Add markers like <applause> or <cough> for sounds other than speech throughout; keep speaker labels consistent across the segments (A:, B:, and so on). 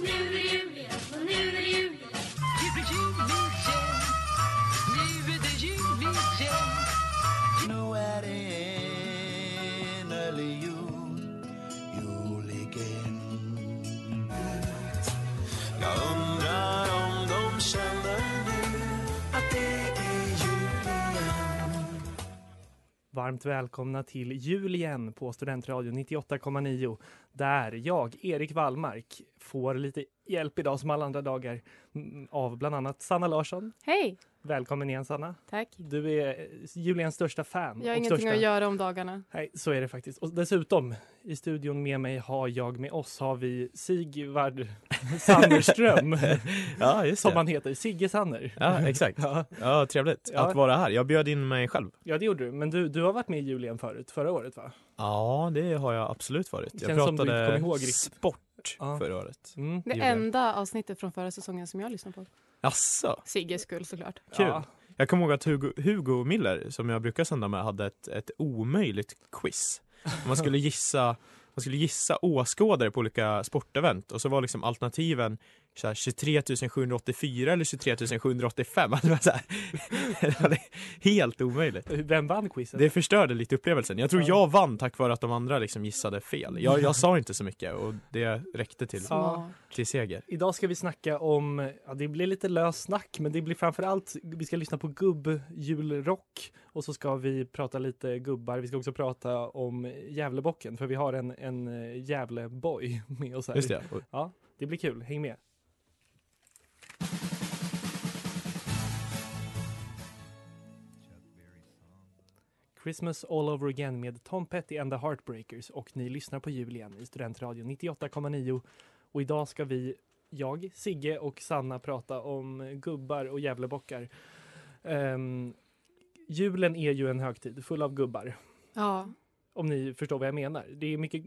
A: Nu är det jul igen, och nu är det jul igen.
B: Nu är det innerlig jul, jul igen Jag undrar om de känner nu att det är jul igen
C: Varmt välkomna till jul igen på Studentradion 98,9 där jag, Erik Wallmark, får lite hjälp idag som alla andra dagar mm, av bland annat Sanna Larsson.
D: Hej!
C: Välkommen igen Sanna!
D: Tack.
C: Du är eh, Julians största fan.
D: Jag har
C: och
D: ingenting
C: största...
D: att göra om dagarna.
C: Nej, så är det faktiskt. Och dessutom, i studion med mig har jag med oss har vi
D: <laughs>
C: Sigvard Sannerström,
E: Ja, just
C: som
E: det.
C: han heter, Sigge Sanner.
E: Ja, exakt. <laughs>
C: Ja.
E: Ja, trevligt
C: Ja.
E: att vara här. Jag bjöd in mig själv.
C: Ja, det gjorde du. Men du, du har varit med i Julien förut, förra året va?
E: Ja, det har jag absolut varit. Jag
C: Känns som du inte kommer ihåg riktigt.
E: sport
C: Ja.
E: förra året.
C: Mm.
D: Det
E: Julia.
D: enda avsnittet från förra säsongen som jag lyssnade på.
E: Asså,
D: Sigges skull såklart.
E: kul.
C: Ja.
E: Jag kommer ihåg att Hugo, Hugo Miller, som jag brukar sända med, hade ett, ett omöjligt quiz.
C: <laughs>
E: Man skulle gissa man skulle gissa åskådare på olika sportevent och så var liksom alternativen så här, 23 784 eller 23 785. <laughs> Det var, så här, det var helt omöjligt.
C: Vem vann quizet?
E: Det förstörde lite upplevelsen. Jag tror
C: Ja.
E: jag vann tack vare att de andra liksom gissade fel. Jag, jag sa inte så mycket och det räckte till,
D: Smart.
E: till seger.
C: Idag ska vi snacka om, ja det blir lite lös snack men det blir framförallt, vi ska lyssna på gubbjulrock och så ska vi prata lite gubbar, vi ska också prata om Gävlebocken för vi har en, en eh, Gävleboy <laughs> med oss här.
E: Just det. Och
C: Ja, det blir kul, häng med. Christmas all over again med Tom Petty and the Heartbreakers och ni lyssnar på jul igen i Studentradion 98,9 och idag ska vi, jag, Sigge och Sanna prata om gubbar och Gävlebockar. Ehm, julen är ju en högtid full av gubbar,
D: Ja.
C: om ni förstår vad jag menar. Det är mycket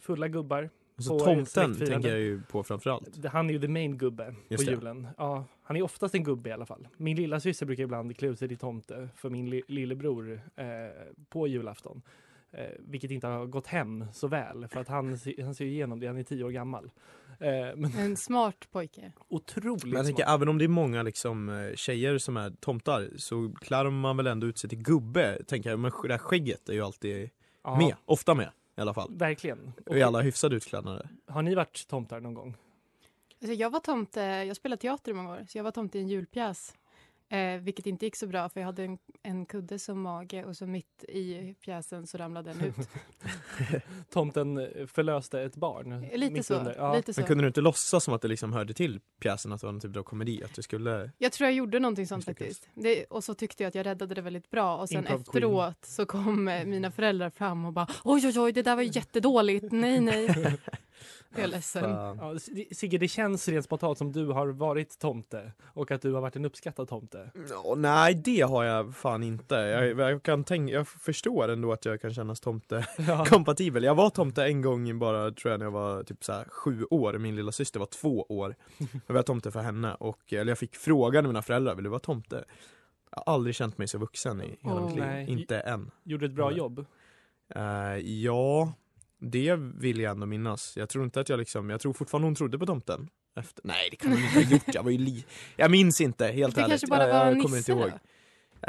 C: fulla gubbar,
E: så
C: på
E: tomten
C: släktfirande.
E: tänker jag ju på framförallt.
C: det- Han är ju the main gubbe
E: Just
C: på
E: det.
C: julen. Ja, han är oftast en gubbe i alla fall. Min lilla syster brukar ibland klä ut sig till tomte för min li- lillebror eh, på julafton. Eh, vilket inte har gått hem så väl för att han, se- han ser ju igenom det, han är tio år gammal. Eh, men
D: En smart pojke.
C: otroligt
E: Men jag tänker
C: smart.
E: även om det är många liksom, eh, tjejer som är tomtar så klär man väl ändå ut sig till gubbe tänker jag. Men det där skägget är ju alltid
C: Ja,
E: med, ofta med i alla fall.
C: Verkligen.
E: Och i alla hyfsade utklädnader.
C: Har ni varit tomtar någon
E: <laughs>
C: gång?
D: Alltså jag var tomte, jag spelade teater i många år, så jag var tomte i en julpjäs. Eh, vilket inte gick så bra för jag hade en, en kudde som mage och så mitt i pjäsen så ramlade den
E: <laughs>
D: ut.
C: Tomten eh, förlöste ett barn.
D: Lite
C: mitt
D: så.
C: under. Ja.
D: Lite så.
E: Men kunde du inte låtsas som att det liksom hörde till pjäsen att det var någon typ av komedi? Att du skulle...
D: Jag tror jag gjorde någonting sånt
E: Misslyckades.
D: faktiskt. Det, och så tyckte jag att jag räddade det väldigt bra och sen
C: Improv queen.
D: efteråt så kom eh, mina föräldrar fram och bara oj oj oj det där var ju jättedåligt,
E: <laughs>
D: nej nej. jag är ledsen.
E: Fan.
C: Ja, S- Sigge, det känns rent spontant som du har varit tomte och att du har varit en uppskattad
E: <laughs>
C: tomte.
E: Nå, nej det har jag fan inte. Jag, jag, kan tänka, jag förstår ändå att jag kan kännas
C: Ja.
E: tomte-kompatibel. Jag var tomte en gång bara tror jag när jag var typ så här, sju år, min lilla syster var två
D: <laughs>
E: år. Jag var tomte för henne och eller jag fick frågan av mina föräldrar, vill du vara tomte? Jag har aldrig känt mig så vuxen i hela
D: Åh,
E: mitt liv,
C: nej.
E: inte än.
C: Gjorde ett bra
E: Nej.
C: jobb.
E: Eh, ja, det vill jag ändå minnas. Jag tror inte att jag liksom, jag tror fortfarande hon trodde på tomten. Efter, nej det kan hon inte ha gjort, jag var ju li... Jag minns inte helt
D: Det
E: ärligt.
D: kanske bara
E: jag,
D: var
E: jag
D: en
E: kommer
D: nisse
E: inte ihåg.
D: då?
E: Eh,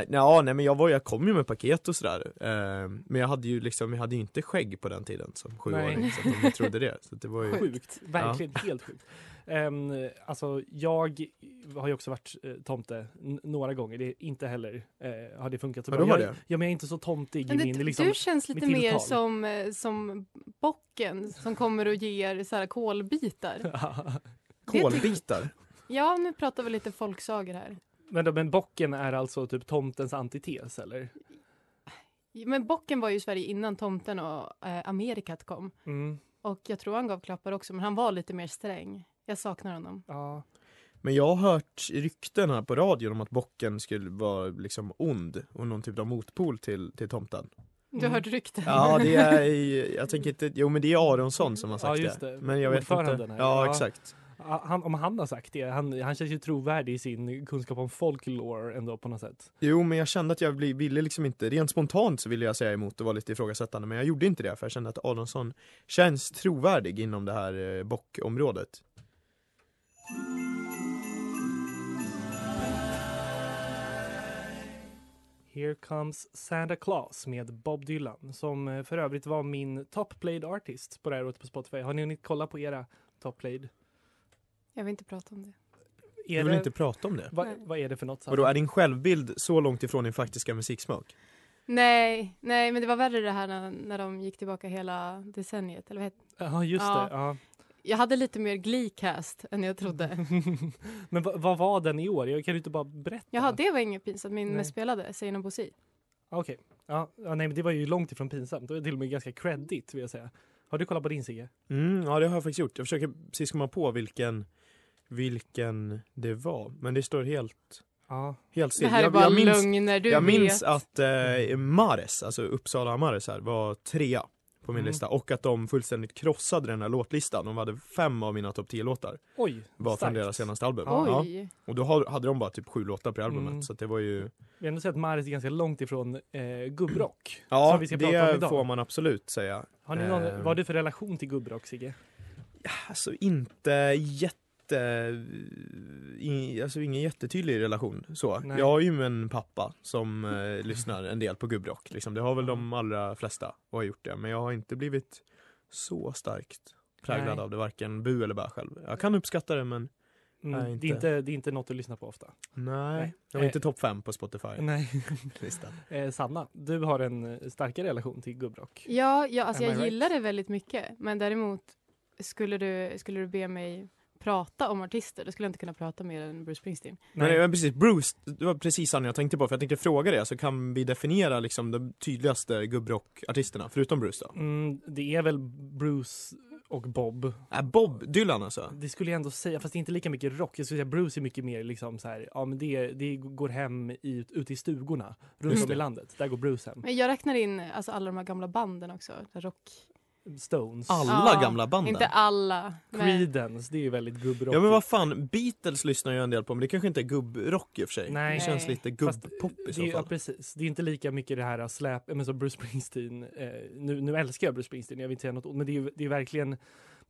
E: Ja, nej men jag, var, jag kom ju med paket och sådär. Eh, men jag hade ju liksom, jag hade ju inte skägg på den tiden som sjuåring.
C: Nej.
E: Så att de trodde det. Så att det var ju...
C: Sjukt, verkligen helt sjukt. Um, alltså, jag har ju också varit eh, tomte n- några gånger. Det är inte heller eh, har det funkat så
E: Ja,
C: bra.
E: då var
C: Jag,
E: det.
C: ja, men jag är inte så tomtig i
D: Men
C: min...
D: det,
C: Liksom, <laughs>
D: du känns lite
C: mitt
D: mer
C: tilltal.
D: som, eh, som bocken som kommer och ger så här
C: <laughs>
D: kolbitar.
E: Kolbitar.
D: Ja, nu pratar vi lite folksagor här.
C: men, då- men bocken är alltså typ tomtens antites, eller?
D: Men bocken var ju i Sverige innan tomten och eh, Amerikat kom.
C: Mm,
D: Och jag tror han gav klappar också, men han var lite mer sträng. Jag saknar honom.
C: ja.
E: Men jag har hört rykten här på radion om att bocken skulle vara liksom ond och någon typ av motpol till, till tomten.
D: Du har
C: Mm.
D: hört rykten.
E: <laughs> Ja, det är, jag tänker inte, jo men det är Aronsson som har sagt
C: Ja, just
E: det.
C: det.
E: Men jag vet
C: Ordföranden
E: inte.
C: här.
E: Ja,
C: Ja.
E: exakt.
C: Ah, Han, om han har sagt det, han, han känns ju trovärdig i sin kunskap om folklore ändå på något sätt.
E: Jo, men jag kände att jag bli- ville liksom inte, rent spontant så ville jag säga emot och vara lite ifrågasättande, men jag gjorde inte det för jag kände att Aronsson känns trovärdig inom det här eh, bockområdet.
C: Here comes Santa Claus med Bob Dylan som eh, för övrigt var min top played artist på det här året på Spotify. Har ni hunnit kolla på era top played?
D: Jag vill inte prata om det.
C: Är
E: Du vill
C: det,
E: inte prata om det? Alltså.
C: vad, vad är det för något? Sanna?
E: Och då är din självbild så långt ifrån din faktiska musiksmak?
D: Nej, nej, men det var värre det här när, när de gick tillbaka hela decenniet. Eller vad heter-
C: Ja, just
D: Ja.
C: det. Ja.
D: jag hade lite mer glee-cast än jag
C: Mm.
D: trodde.
C: <laughs> Men vad- vad var den i år? Jag kan ju inte bara berätta.
D: Jaha, det var inget pinsamt. Min
C: Nej.
D: mest spelade, Säg någon poesi.
C: Okej. Ja, ja, nej, men det var ju långt ifrån pinsamt. Det var till och med ganska credit vill jag säga. Har du kollat på din Sigge?
E: Mm, ja, det har jag faktiskt gjort. Jag försöker precis komma på vilken, vilken det var, men det står helt,
C: Ja.
E: helt
D: Det
E: still.
D: här är
E: jag,
D: bara
E: jag minns,
D: lögner, du
E: jag
D: vet.
E: minns att eh, Mares, alltså Uppsala Mares här, var trea på min
C: Mm.
E: lista och att de fullständigt krossade den här låtlistan. De hade fem av mina topp 10 låtar
C: Oj,
E: var från
C: starkt.
E: deras senaste album. Ja.
D: Oj!
E: Och då har- hade de bara typ sju låtar per albumet
C: Mm.
E: så att det var ju
C: Vi har ändå sett att Maris är ganska långt ifrån eh, gubbrock.
E: Ja,
C: som vi ska prata om
E: det
C: idag.
E: får man absolut säga.
C: Har ni någon,
E: Eh.
C: Vad har du för relation till gubbrock, Sigge?
E: Alltså inte jätte, i- alltså ingen jättetydlig relation så.
C: Nej.
E: Jag har ju en pappa som eh, lyssnar en del på gubbrock liksom. Det har väl de allra flesta och har gjort det. Men jag har inte blivit så starkt präglad
C: Nej.
E: av det, varken bu eller bä själv. Jag kan uppskatta det men
C: Mm,
E: Nej,
C: Det, är
E: inte.
C: inte, det är inte något du lyssnar på ofta.
E: nej.
C: Nej. Eh. Mm.
E: Jag var inte topp fem på Spotify-listan.
C: Nej. <laughs> eh, Sanna, du har en eh, starkare relation till gubbrock.
D: Ja, ja alltså
C: Am I
D: jag
C: right?
D: gillar det väldigt mycket. Men däremot, skulle du, skulle du be mig prata om artister, då skulle jag inte kunna prata mer än Bruce Springsteen.
E: Men, men precis, Bruce, det var precis han jag tänkte på för jag tänkte fråga dig, så kan vi definiera liksom de tydligaste gubbrock-artisterna förutom Bruce då?
C: Mm, det är väl Bruce och Bob.
E: Äh, Bob Dylan alltså?
C: Det skulle jag ändå säga, fast det är inte lika mycket rock. Jag skulle säga Bruce är mycket mer liksom så här, ja men det, det går hem i, ute i stugorna runt
E: Just
C: om i
E: det.
C: landet. Där går Bruce hem.
D: Men jag räknar in alltså, alla de här gamla banden också. Rock.
C: Stones.
E: Alla
D: Ja,
E: gamla banden?
D: Inte alla. Men,
C: Creedence, det är ju väldigt gubbrock.
E: Ja men vad fan, Beatles lyssnar jag en del på men det kanske inte är gubbrock i och för sig.
C: Nej.
E: Det känns lite
C: Fast
E: gubbpop i
C: Det är,
E: så
C: ja,
E: fall.
C: precis. Det är inte lika mycket det här äh, släp, men som Bruce Springsteen. Eh, nu, nu älskar jag Bruce Springsteen, jag vill inte säga något ont, men det är, ju- det är verkligen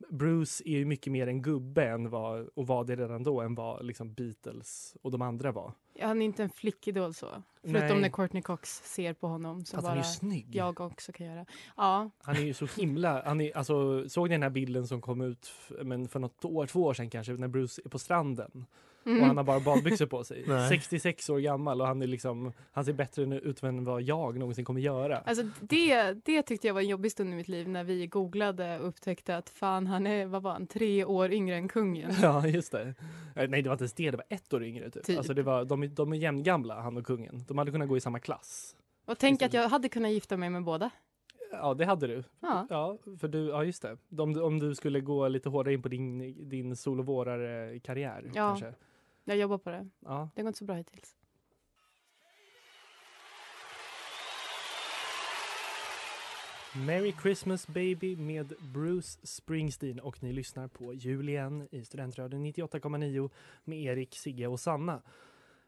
C: Bruce är ju mycket mer en gubbe än vad, och var det redan då än vad liksom Beatles och de andra var.
D: han är inte en flickidol så. Förutom
C: Nej.
D: när Courtney Cox ser på honom som
C: Fast han är
D: bara
C: ju snygg.
D: jag också kan göra. Ja,
C: Han är ju så himla... Han är, alltså, såg ni den här bilden som kom ut f- men för något år, två år sedan kanske, när Bruce är på stranden
D: Mm.
C: och han har bara badbyxor på sig.
E: <laughs> Nej.
C: 66 år gammal och han, är liksom, han ser bättre ut än vad jag någonsin kommer göra.
D: Alltså det, det tyckte jag var en jobbig stund i mitt liv när vi googlade och upptäckte att fan han är, vad var han, tre år yngre än kungen.
C: <laughs> Ja, just det. Eh, Nej, det var inte ens det. Det var ett år yngre. Typ.
D: Typ.
C: Alltså, det var, de, är- de är jämngamla, han och kungen. De hade kunnat gå i samma klass.
D: Och tänk
C: Just
D: att
C: det.
D: jag hade kunnat gifta mig med båda.
C: Ja, det hade du.
D: Ja.
C: Ja, för du, ja just det. Om, om du skulle gå lite hårdare in på din, din sol och vårare-karriär.
D: Ja.
C: Kanske.
D: Jag jobbar på det.
C: Ja.
D: Det har gått så bra hittills.
C: Merry Christmas baby med Bruce Springsteen och ni lyssnar på jul igen i Studentradion 98,9 med Erik, Sigge och Sanna.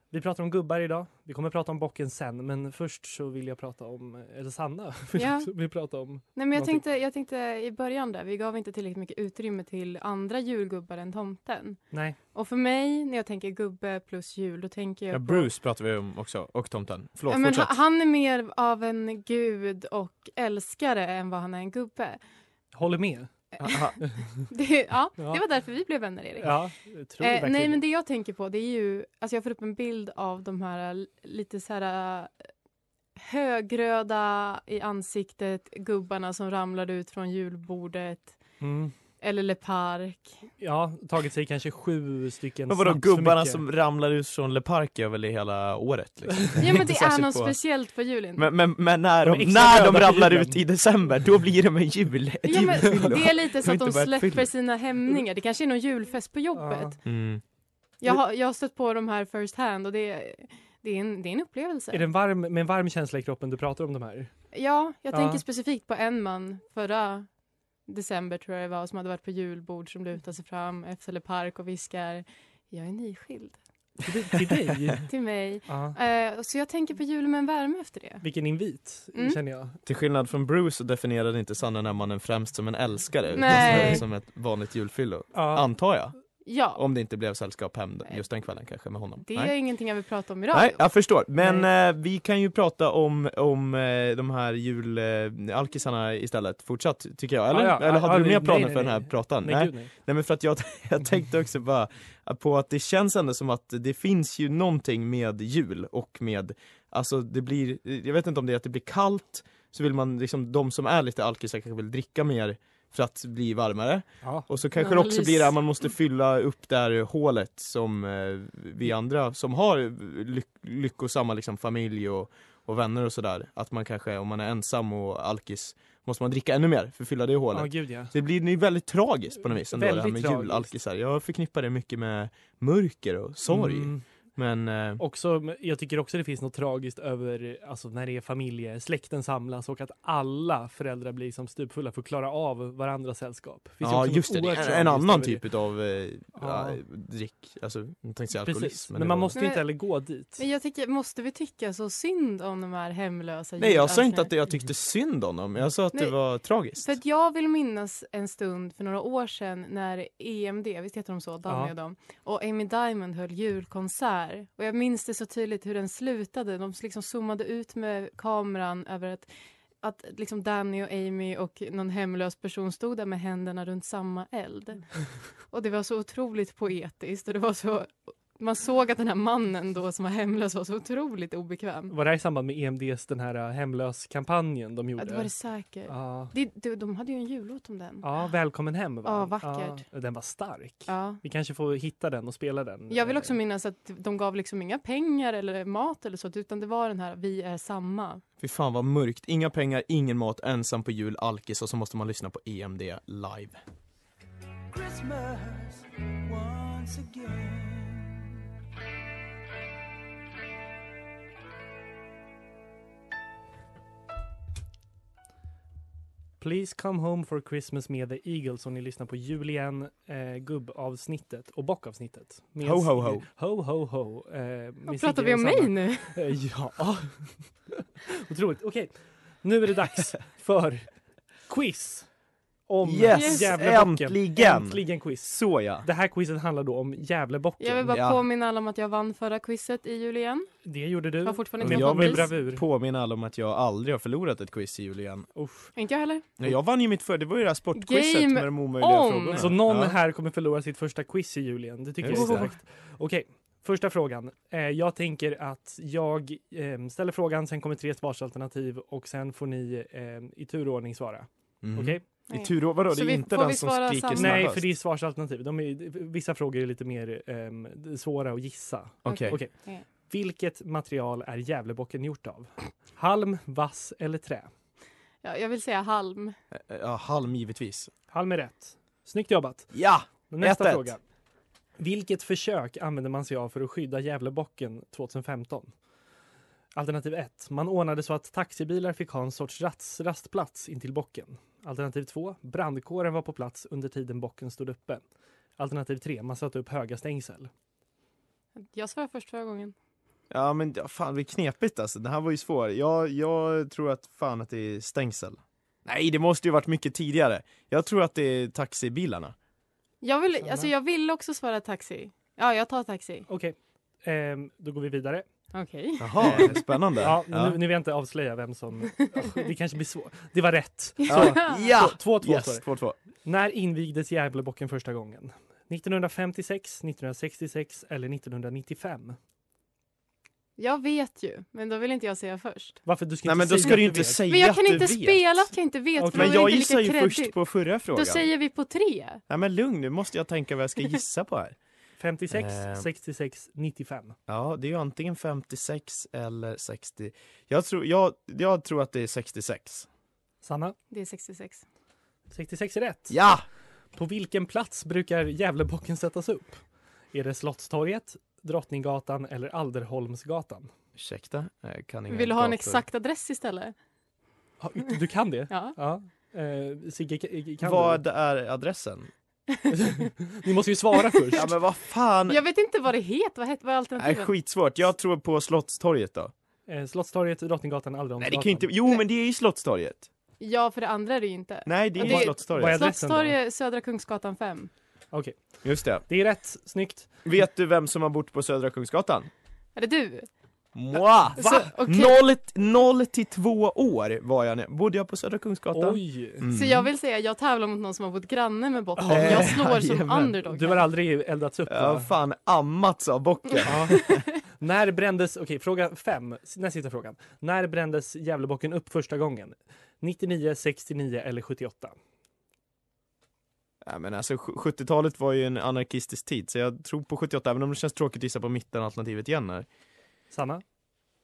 C: Vi pratar om gubbar idag. Vi kommer prata om bocken sen, men först så vill jag prata om, eller Sanna <laughs>
D: Ja.
C: vill prata om
D: Nej, men jag,
C: Någonting.
D: tänkte, jag tänkte i början där, vi gav inte tillräckligt mycket utrymme till andra julgubbar än tomten.
C: Nej,
D: Och för mig, när jag tänker gubbe plus jul, då tänker jag
E: Ja,
D: på-
E: Bruce pratar vi om också, och tomten. Förlåt,
D: Ja, men
E: fortsätt.
D: ha- han är mer av en gud och älskare än vad han är en gubbe.
C: håller <laughs> med.
E: <laughs> Aha.
D: Det, ja,
C: Ja.
D: det var därför vi blev vänner, Erik.
C: Ja, jag tror
D: Eh,
C: verkligen.
D: nej, men det jag tänker på det är ju... Alltså jag får upp en bild av de här l- lite så här eh, högröda i ansiktet gubbarna som ramlade ut från julbordet
C: mm.
D: eller
E: <laughs>
D: Le Parc.
C: Ja, tagit sig kanske sju stycken
E: Men vadå,
C: snaps för
E: gubbarna
C: mycket.
E: som ramlar ut från Le Parc gör väl det hela året? Liksom.
D: Ja,
E: <laughs>
D: men
E: Inte
D: det är
E: särskilt
D: något
E: på-
D: speciellt på julen.
E: Men, men, men när de,
C: De är extra
E: när de
C: röda på
E: ramlar
C: julen.
E: ut i december, då blir det med jul, ett
D: ja, men
E: julfyllo.
D: det är lite
E: <laughs>
D: så
E: har
D: att de
E: inte börjat
D: släpper
E: fylla.
D: sina hämningar. Det kanske är någon julfest på jobbet.
E: Mm.
D: Jag, har, jag har stött på de här first hand och det, är- det, är, en, det är en upplevelse.
C: Är det en varm, med en varm känsla i kroppen du pratar om de här?
D: Ja, jag
C: Ja.
D: tänker specifikt på en man förra december tror jag det var som hade varit på julbord som lutar sig fram efter Le Park och viskar jag är nyskild
C: Till, till dig?
E: <laughs>
D: till mig.
C: Ja.
D: Eh, så jag tänker på jul med en värme efter det.
C: Vilken invit,
D: Mm.
C: känner jag.
E: Till skillnad från Bruce så definierade inte Sanna den här mannen främst som en älskare utan
D: Nej.
E: snarare som ett vanligt julfyllo.
C: Ja.
E: Antar jag.
D: Ja,
E: Om det inte blev sällskap hem just den kvällen kanske med honom.
D: det är
E: Nej.
D: ingenting jag vill prata om i
E: Nej,
D: radio.
E: jag förstår. Men eh, vi kan ju prata om, om eh, de här julalkisarna eh, alkisarna istället fortsatt, tycker jag. Eller,
C: Ja, ja.
E: eller
C: Ja,
E: hade
C: nej,
E: du mer
C: nej,
E: planer
C: nej,
E: för den här
C: nej.
E: pratan?
C: Nej, gud nej.
E: Nej men för att jag, <laughs> jag tänkte också bara på att det känns ändå som att det finns ju någonting med jul och med, alltså det blir, jag vet inte om det är att det blir kallt, så vill man liksom, de som är lite alkisar kanske vill dricka mer för att bli varmare.
C: Ja.
E: Och så kanske det
D: Analys.
E: också blir det här, man måste fylla upp det här hålet som eh, vi andra som har lyck- lyckosamma liksom, familj och, och vänner och sådär, att man kanske om man är ensam och alkis måste man dricka ännu mer för att fylla det hålet.
C: Ja, gud ja.
E: Det blir ju väldigt tragiskt på något vis ändå det här
C: Väldigt
E: med
C: tragiskt.
E: julalkisar. Jag förknippar det mycket med mörker och sorg.
C: Mm.
E: Men eh,
C: Också, men jag tycker också det finns något tragiskt över alltså, när det är familjer, släkten samlas och att alla föräldrar blir som stupfulla för att klara av varandras sällskap. Finns ju
E: ja
C: också något
E: just det, det
C: oerhört
E: är en,
C: tragiskt
E: en
C: över
E: annan
C: det.
E: typ utav eh,
C: Ja.
E: ja. drick, alltså jag tänkte säga
C: Precis,
E: alkoholism.
C: men,
E: det
C: man
E: var-
C: måste ju
D: Nej,
C: inte heller gå dit.
D: Men jag tycker, måste vi tycka så synd om de här hemlösa
E: Nej jag sa inte
D: julälskarna?
E: att jag tyckte synd om dem, jag sa att
D: Nej.
E: det var tragiskt.
D: För att jag vill minnas en stund för några år sedan när EMD, visst heter de så, Danny
C: Ja.
D: och dem, och Amy Diamond höll julkonsert. Och jag minns det så tydligt hur den slutade. De liksom zoomade ut med kameran över att, att liksom Danny och Amy och någon hemlös person stod där med händerna runt samma
C: <laughs>
D: eld. Och det var så otroligt poetiskt och det var så... Man såg att den här mannen då som var hemlös var så otroligt obekväm.
C: Var det här i samband med EMDs den här äh, hemlös-kampanjen de gjorde?
D: Ja, det var det säkert.
C: Ja.
D: Det, det, de hade ju en jullåt om den.
C: Ja, Välkommen hem va?
D: Ja, vackert.
C: Ja, den var stark.
D: Ja.
C: Vi kanske får hitta den och spela den.
D: Jag vill
C: eh,
D: också minnas att de gav liksom inga pengar eller mat eller så, utan det var den här vi är samma.
E: Fy fan vad mörkt, inga pengar, ingen mat, ensam på jul, alkis och så måste man lyssna på EMD live.
B: Christmas once again.
C: Please come home for Christmas med The Eagles och ni lyssnar på jul igen, eh, gubbavsnittet och bockavsnittet. Med-
E: Ho, ho, ho.
C: Ho, ho, ho. Eh, med
D: Och
C: Sigge
D: pratar vi om
C: Rosanna.
D: mig nu?
C: Eh, Ja. <laughs> Otroligt. Okej, nu är det dags för quiz. Om
E: Yes,
C: Gävlebocken.
E: äntligen.
C: Äntligen quiz.
E: Så ja!
C: Det här quizet handlar då om Gävlebocken.
D: Jag vill bara
E: Ja.
D: påminna alla om att jag vann förra quizet i jul igen.
C: Det gjorde
D: Jag
C: du.
D: har fortfarande
C: Med
D: inte
E: Jag
D: fått
E: vill
D: pris.
C: bravur.
E: Påminna alla om att jag aldrig har förlorat ett quiz i jul igen.
C: Usch.
D: Inte jag heller.
E: Nej, jag vann ju mitt förra, det var ju det här sportquizet
D: Game
E: med de omöjliga
D: on.
E: frågorna.
C: Så någon
E: Ja.
C: här kommer förlora sitt första quiz i jul igen. Det tycker jag är
E: Just det.
C: starkt. Okej, första frågan. Eh, jag tänker att jag eh, ställer frågan, sen kommer tre svarsalternativ och sen får ni eh, i turordning svara.
E: Mm.
C: Okej?
E: I tur, vadå,
D: Så
E: det är
D: vi-
E: inte
D: får
E: den
D: vi
E: som
D: svara
E: skriker
D: samma?
E: snabbast?
C: Nej, för det är svarsalternativ. De är, vissa frågor är lite mer eh, svåra att gissa.
E: Okej.
C: Okej.
D: Okej.
C: Vilket material är Gävlebocken gjort av? Halm, vass eller trä?
D: Ja, jag vill säga halm.
E: Ja, halm givetvis.
C: Halm är rätt. Snyggt jobbat!
E: Ja!
C: Nästa
E: 1-1.
C: fråga. Vilket försök använde man sig av för att skydda Gävlebocken 2015? Alternativ 1. Man ordnade så att taxibilar fick ha en sorts rats, rastplats intill bocken. Alternativ 2. Brandkåren var på plats under tiden bocken stod uppe. Alternativ 3. Man satte upp höga stängsel.
D: Jag svarade först förra gången.
E: Ja men ja, fan det är knepigt alltså, den här var ju svår. Jag, jag tror att fan att det är stängsel. Nej det måste ju varit mycket tidigare. Jag tror att det är taxibilarna.
D: Jag vill,
C: Samma.
D: alltså jag vill också svara taxi. Ja, jag tar taxi.
C: Okej, ehm, då går vi vidare.
D: Okej.
E: Jaha, spännande.
C: Ja,
E: Ja.
C: Nu, nu vill jag inte avslöja vem
E: <laughs>
C: som... Ugh, det kanske blir svårt. Det var rätt.
E: Ja.
C: Två-
E: ja.
C: 2-2 står det.
E: Yes, 2-2.
C: När invigdes Gävlebocken första gången? 1956, 1966 eller 1995?
D: Jag vet ju, men då vill inte jag säga först.
C: Varför du ska
E: Nej
C: inte
E: men då
C: säga
E: ska
C: att
E: du inte
C: vet.
E: säga
D: Men jag kan
E: att
D: inte
E: du vet.
D: spela att jag inte vet,
C: Okej.
D: för
E: Men
D: då är
E: jag
D: det inte
E: gissar ju
D: lika
E: först
D: kreddigt.
E: på förra frågan.
D: Då säger vi på tre.
E: Nej men lugn nu måste jag tänka vad jag ska gissa på här.
C: 56,
E: Eh.
C: 66, 95.
E: Ja, det är ju antingen 56 eller 60. Jag tror, jag, jag tror att det är 66.
C: Sanna,
D: Det är 66.
C: 66 är rätt.
E: Ja!
C: På vilken plats brukar Gävlebocken sättas upp? Är det Slottstorget, Drottninggatan eller Alderholmsgatan?
E: Ursäkta, jag kan inga
D: Vill du ha en
E: gator.
D: exakt adress istället?
C: Ha, Du kan det?
D: Ja.
C: Ja. Eh, Sigge, ka- kan du?
E: Vad är adressen?
C: <laughs> Ni måste ju
E: <laughs>
C: svara först.
E: Ja men vad fan!
D: Jag vet inte vad det heter. Vad, het, vad är
E: Nej
D: alternativen?
E: skitsvårt, jag tror på Slottstorget då.
C: Eh, Slottstorget, Drottninggatan, Allrumsgatan.
E: Nej det kan ju inte, jo men det är ju Slottstorget.
D: ja, för det andra är det ju inte.
E: Nej det är
D: Ja,
E: ju
D: det-
C: Vad
E: Slottstorget.
C: är- adressen då?
D: Slottstorget, Södra Kungsgatan 5.
C: Okej,
E: Just det.
C: det är rätt. Snyggt.
E: Vet du vem som har bott på Södra Kungsgatan? Alltså,
D: Är det du?
E: Moi!
D: Så,
E: Va?
D: okej.
E: Noll, noll till två år var jag när, bodde jag på Södra Kungsgatan?
C: Oj!
E: Mm.
D: Så jag vill säga, jag tävlar mot någon som har bott granne med botten.
C: Ja.
D: Jag slår som
E: Jajamän.
D: underdog.
C: Du har aldrig eldats upp?
E: Jag har
C: va?
E: fan ammats av <laughs> bocken.
C: Ja. När brändes, okej fråga fem, näst sista frågan. När brändes Gävlebocken upp första gången? 99, 69 eller 78?
E: Nej men alltså sj- 70-talet var ju en anarkistisk tid så jag tror på 78 även om det känns tråkigt att gissa på mittenalternativet igen här.
C: Sanna?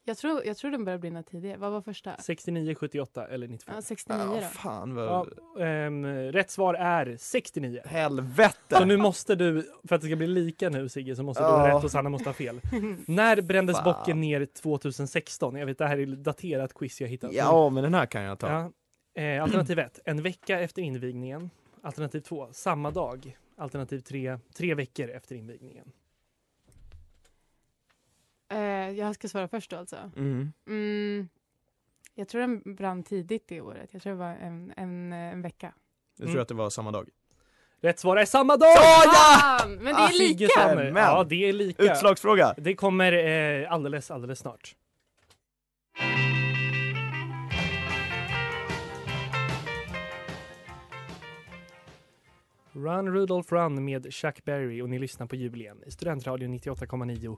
D: Jag, tror, jag tror den började brinna tidigare. Vad var första?
C: 69, 78 eller 95?
D: Ja, 69
E: Ja,
D: då.
E: fan vad...
C: Ja, ehm, rätt svar är 69.
E: Helvete!
C: Så nu måste du, för att det ska bli lika nu Sigge, så måste du
E: Ja.
C: ha rätt och Sanna måste ha fel. När brändes
E: Fan.
C: bocken ner 2016? Jag vet, det här är daterat quiz jag hittat.
E: Ja, men den här kan jag ta.
C: Ja. Eh, alternativ 1, en vecka efter invigningen. Alternativ 2, samma dag. Alternativ 3, tre veckor efter invigningen.
D: Eh, jag ska svara först då alltså.
E: Mm.
D: Mm, jag tror den brann tidigt det året. Jag tror det var en, en, en vecka.
E: Jag tror
C: Mm.
E: att det var samma dag.
C: Rätt svar är samma dag!
D: Fan! Men det
E: Ah,
D: är lika!
C: Sigge Sammer.
E: Men.
C: Ja, det är lika.
E: Utslagsfråga!
C: Det kommer eh, alldeles, alldeles snart. Run Rudolph Run med Chuck Berry och ni lyssnar på jul igen i Studentradion 98,9.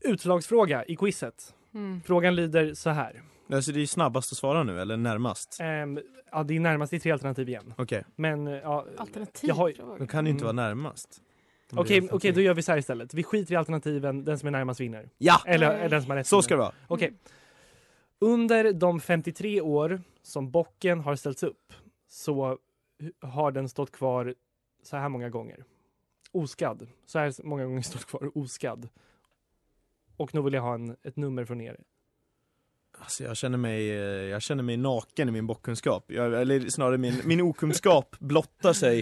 C: Utslagsfråga i quizet.
D: Mm.
C: Frågan lyder så här.
E: Alltså det är ju snabbast att svara nu, eller närmast?
C: Ehm, ja, det är närmast i tre alternativ igen.
E: Okej,
C: Men eh, ja,
D: Alternativ.
C: Jag har ju-
D: fråga.
E: då kan det ju inte
C: Mm.
E: vara närmast. Mm, Det blir
C: okej,
E: helt
C: okej, då
E: okej.
C: gör vi så här istället. Vi skiter i alternativen. Den som är närmast vinner.
E: Ja!
C: Eller,
D: Nej.
C: eller den som har rätt
E: Så
C: vinner.
E: ska det vara.
C: Okej. Under de 53 år som bocken har ställts upp så har den stått kvar så här många gånger. Oskadd. Så här många gånger <laughs> stått kvar oskadd. Och nu vill jag ha en, ett nummer från er.
E: Alltså jag känner mig, eh, jag känner mig naken i min bockkunskap. Jag, eller snarare min, min okunskap blottar sig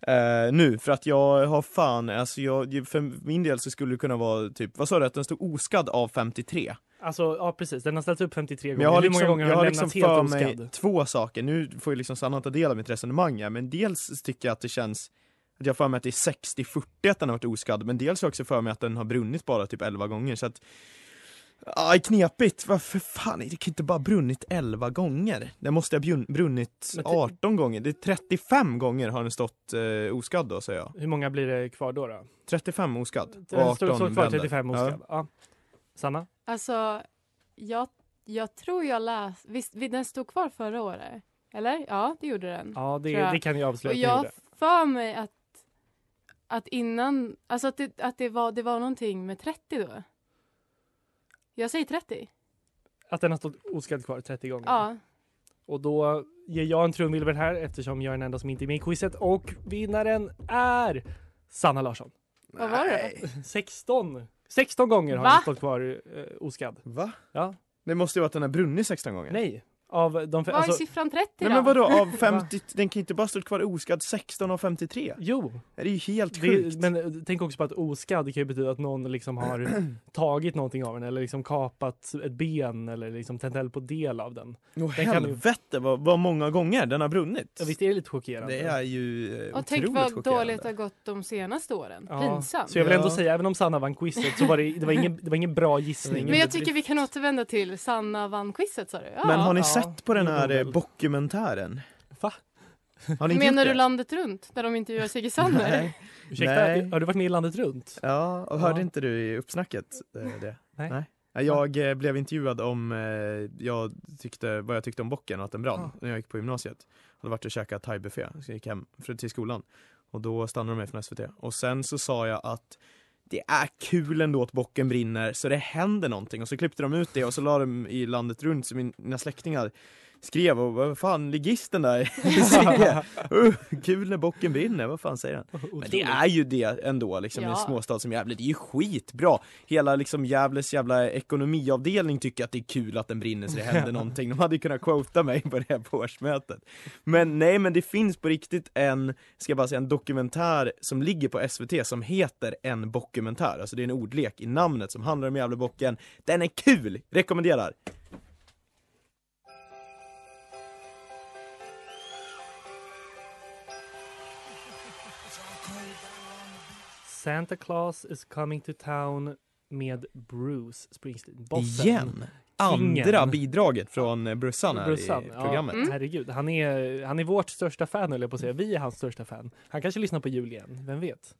E: eh, nu. För att jag har fan, alltså jag, för min del så skulle det kunna vara typ, vad sa du att den stod oskadd av 53?
C: Alltså, ja precis. Den har ställts upp 53
E: Men
C: gånger.
E: jag har
C: Hur många
E: liksom,
C: gånger
E: jag
C: har
E: har
C: den
E: liksom
C: lämnats
E: för
C: helt
E: mig
C: oskadd?
E: två saker, nu får ju liksom Sanna ta del av mitt resonemang här, men dels tycker jag att det känns att jag har för mig att det är 60-40 att den har varit oskadd, men dels har jag också för mig att den har brunnit bara typ 11 gånger så att Aj, knepigt! Varför fan, det kan inte bara ha brunnit 11 gånger. Den måste ha bjun- brunnit
C: Men ty-
E: 18 gånger. Det är 35 gånger har den stått eh, oskadd då, säger jag.
C: Hur många blir det kvar då? då?
E: 35 oskadd. Och
C: Den står
E: 18
C: står kvar
E: bränder.
C: 35
E: Ja.
C: oskadd. Ja. Sanna?
D: Alltså, jag, jag tror jag läste... Visst, vi- den stod kvar förra året? Eller? Ja, det gjorde den.
C: Ja,
D: Tror
C: det,
D: jag.
C: det kan jag avslöja
D: Och
C: att ni
D: jag
C: gjorde.
D: har för mig att, att innan... Alltså att, det, att det, var, det var någonting med 30 då. Jag säger 30.
C: Att den har stått oskadd kvar 30 gånger.
D: Ja.
C: Och då ger jag en trumvirvel här eftersom jag är den enda som inte är med i quizet. Och vinnaren är Sanna Larsson.
D: Vad var det då?
C: 16! 16 gånger har
D: Va?
C: den stått kvar eh, oskadd.
E: Va?
C: Ja.
E: Det måste ju vara att den har brunnit 16 gånger.
C: Nej. Av de... fe-
D: Vad är
C: Alltså,
D: siffran 30 då?
E: Nej men vadå, <laughs> av 50, den kan ju inte bara stå kvar oskadd 16 av 53.
C: jo,
E: Det är ju helt sjukt.
C: det, men eh, tänk också på att oskadd kan ju betyda att någon liksom
E: <clears throat>
C: har tagit någonting av den eller liksom kapat ett ben eller liksom tänt eld på del av den.
E: Åh
C: den kan ju-
E: helvete vad, vad många gånger den har brunnit.
C: Ja, visst är det lite chockerande?
E: Det är ju eh,
D: Och
E: otroligt
D: tänk vad
E: chockerande.
D: dåligt det har gått de senaste åren.
C: Ja,
D: Pinsamt.
C: Så jag vill ändå
E: Ja.
C: säga, även om Sanna vann quizet så var det, det, var ingen, det var ingen bra gissning.
D: Men jag
E: bedrift.
D: tycker vi kan återvända till Sanna vann quizet sa du? Ja.
E: Men har ni
C: ja.
E: sett på den här eh,
C: Nobel.
E: dokumentären?
C: Va?
E: <laughs> Har ni inte
D: Menar
E: gjort
D: du
E: det?
D: Landet runt där de intervjuar Sigge Sandberg?
E: Nej.
C: Ursäkta,
E: Nej.
C: har du varit med i Landet runt?
E: Ja, och
C: Ja.
E: hörde inte du i uppsnacket eh, det?
C: Nej.
E: Ja, Jag eh, blev intervjuad om eh, jag tyckte, vad jag tyckte om bocken och att den brann
C: Ah.
E: när jag gick på gymnasiet. Jag hade varit och käkat thaibuffé, så jag gick hem för, till skolan. Och då stannade de mig från SVT. Och sen så sa jag att det är kul ändå att bocken brinner så det händer någonting. Och så klippte de ut det och så la de i landet runt så mina släktingar skrev och vad fan, ligisten där,
C: <laughs>
E: Sigge, uh, kul när bocken brinner, vad fan säger han? Men det är ju det ändå liksom i en
D: Ja.
E: småstad som Gävle, det är ju skitbra! Hela liksom Gävles jävla ekonomiavdelning tycker att det är kul att den brinner så det
C: <laughs>
E: händer någonting, de hade ju kunnat quota mig på det här på årsmötet. Men nej men det finns på riktigt en, ska jag bara säga en dokumentär som ligger på SVT som heter En bockumentär, alltså det är en ordlek i namnet som handlar om Gävlebocken. Den är kul! Rekommenderar!
C: Santa Claus is coming to town med Bruce Springsteen. Bossen.
E: Igen! Andra
C: Kingen.
E: bidraget från eh, Brussan här
C: Brorsan,
E: i programmet.
D: Mm.
C: Ja, herregud, han är, han är vårt största fan höll jag på att säga. Vi är hans största fan. Han kanske lyssnar på jul igen, vem vet?